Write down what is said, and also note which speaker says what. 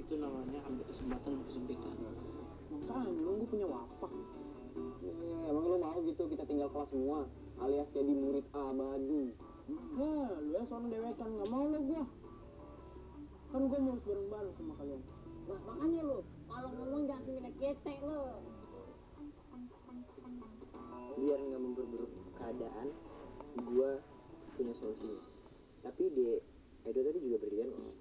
Speaker 1: itu namanya ambil kesempatan kesempitan
Speaker 2: Kan,
Speaker 3: Makanya lu gue punya wapak. Eh, emang lu mau gitu kita tinggal kelas semua alias jadi murid abadi.
Speaker 2: Hah, lu ya soalnya dewekan nggak mau lo gua. Kan gua mau bareng-bareng sama kalian.
Speaker 4: Nah, makanya lu, kalau ngomong jangan sendiri ketek lu.
Speaker 5: biar nggak memperburuk keadaan gua punya solusinya tapi di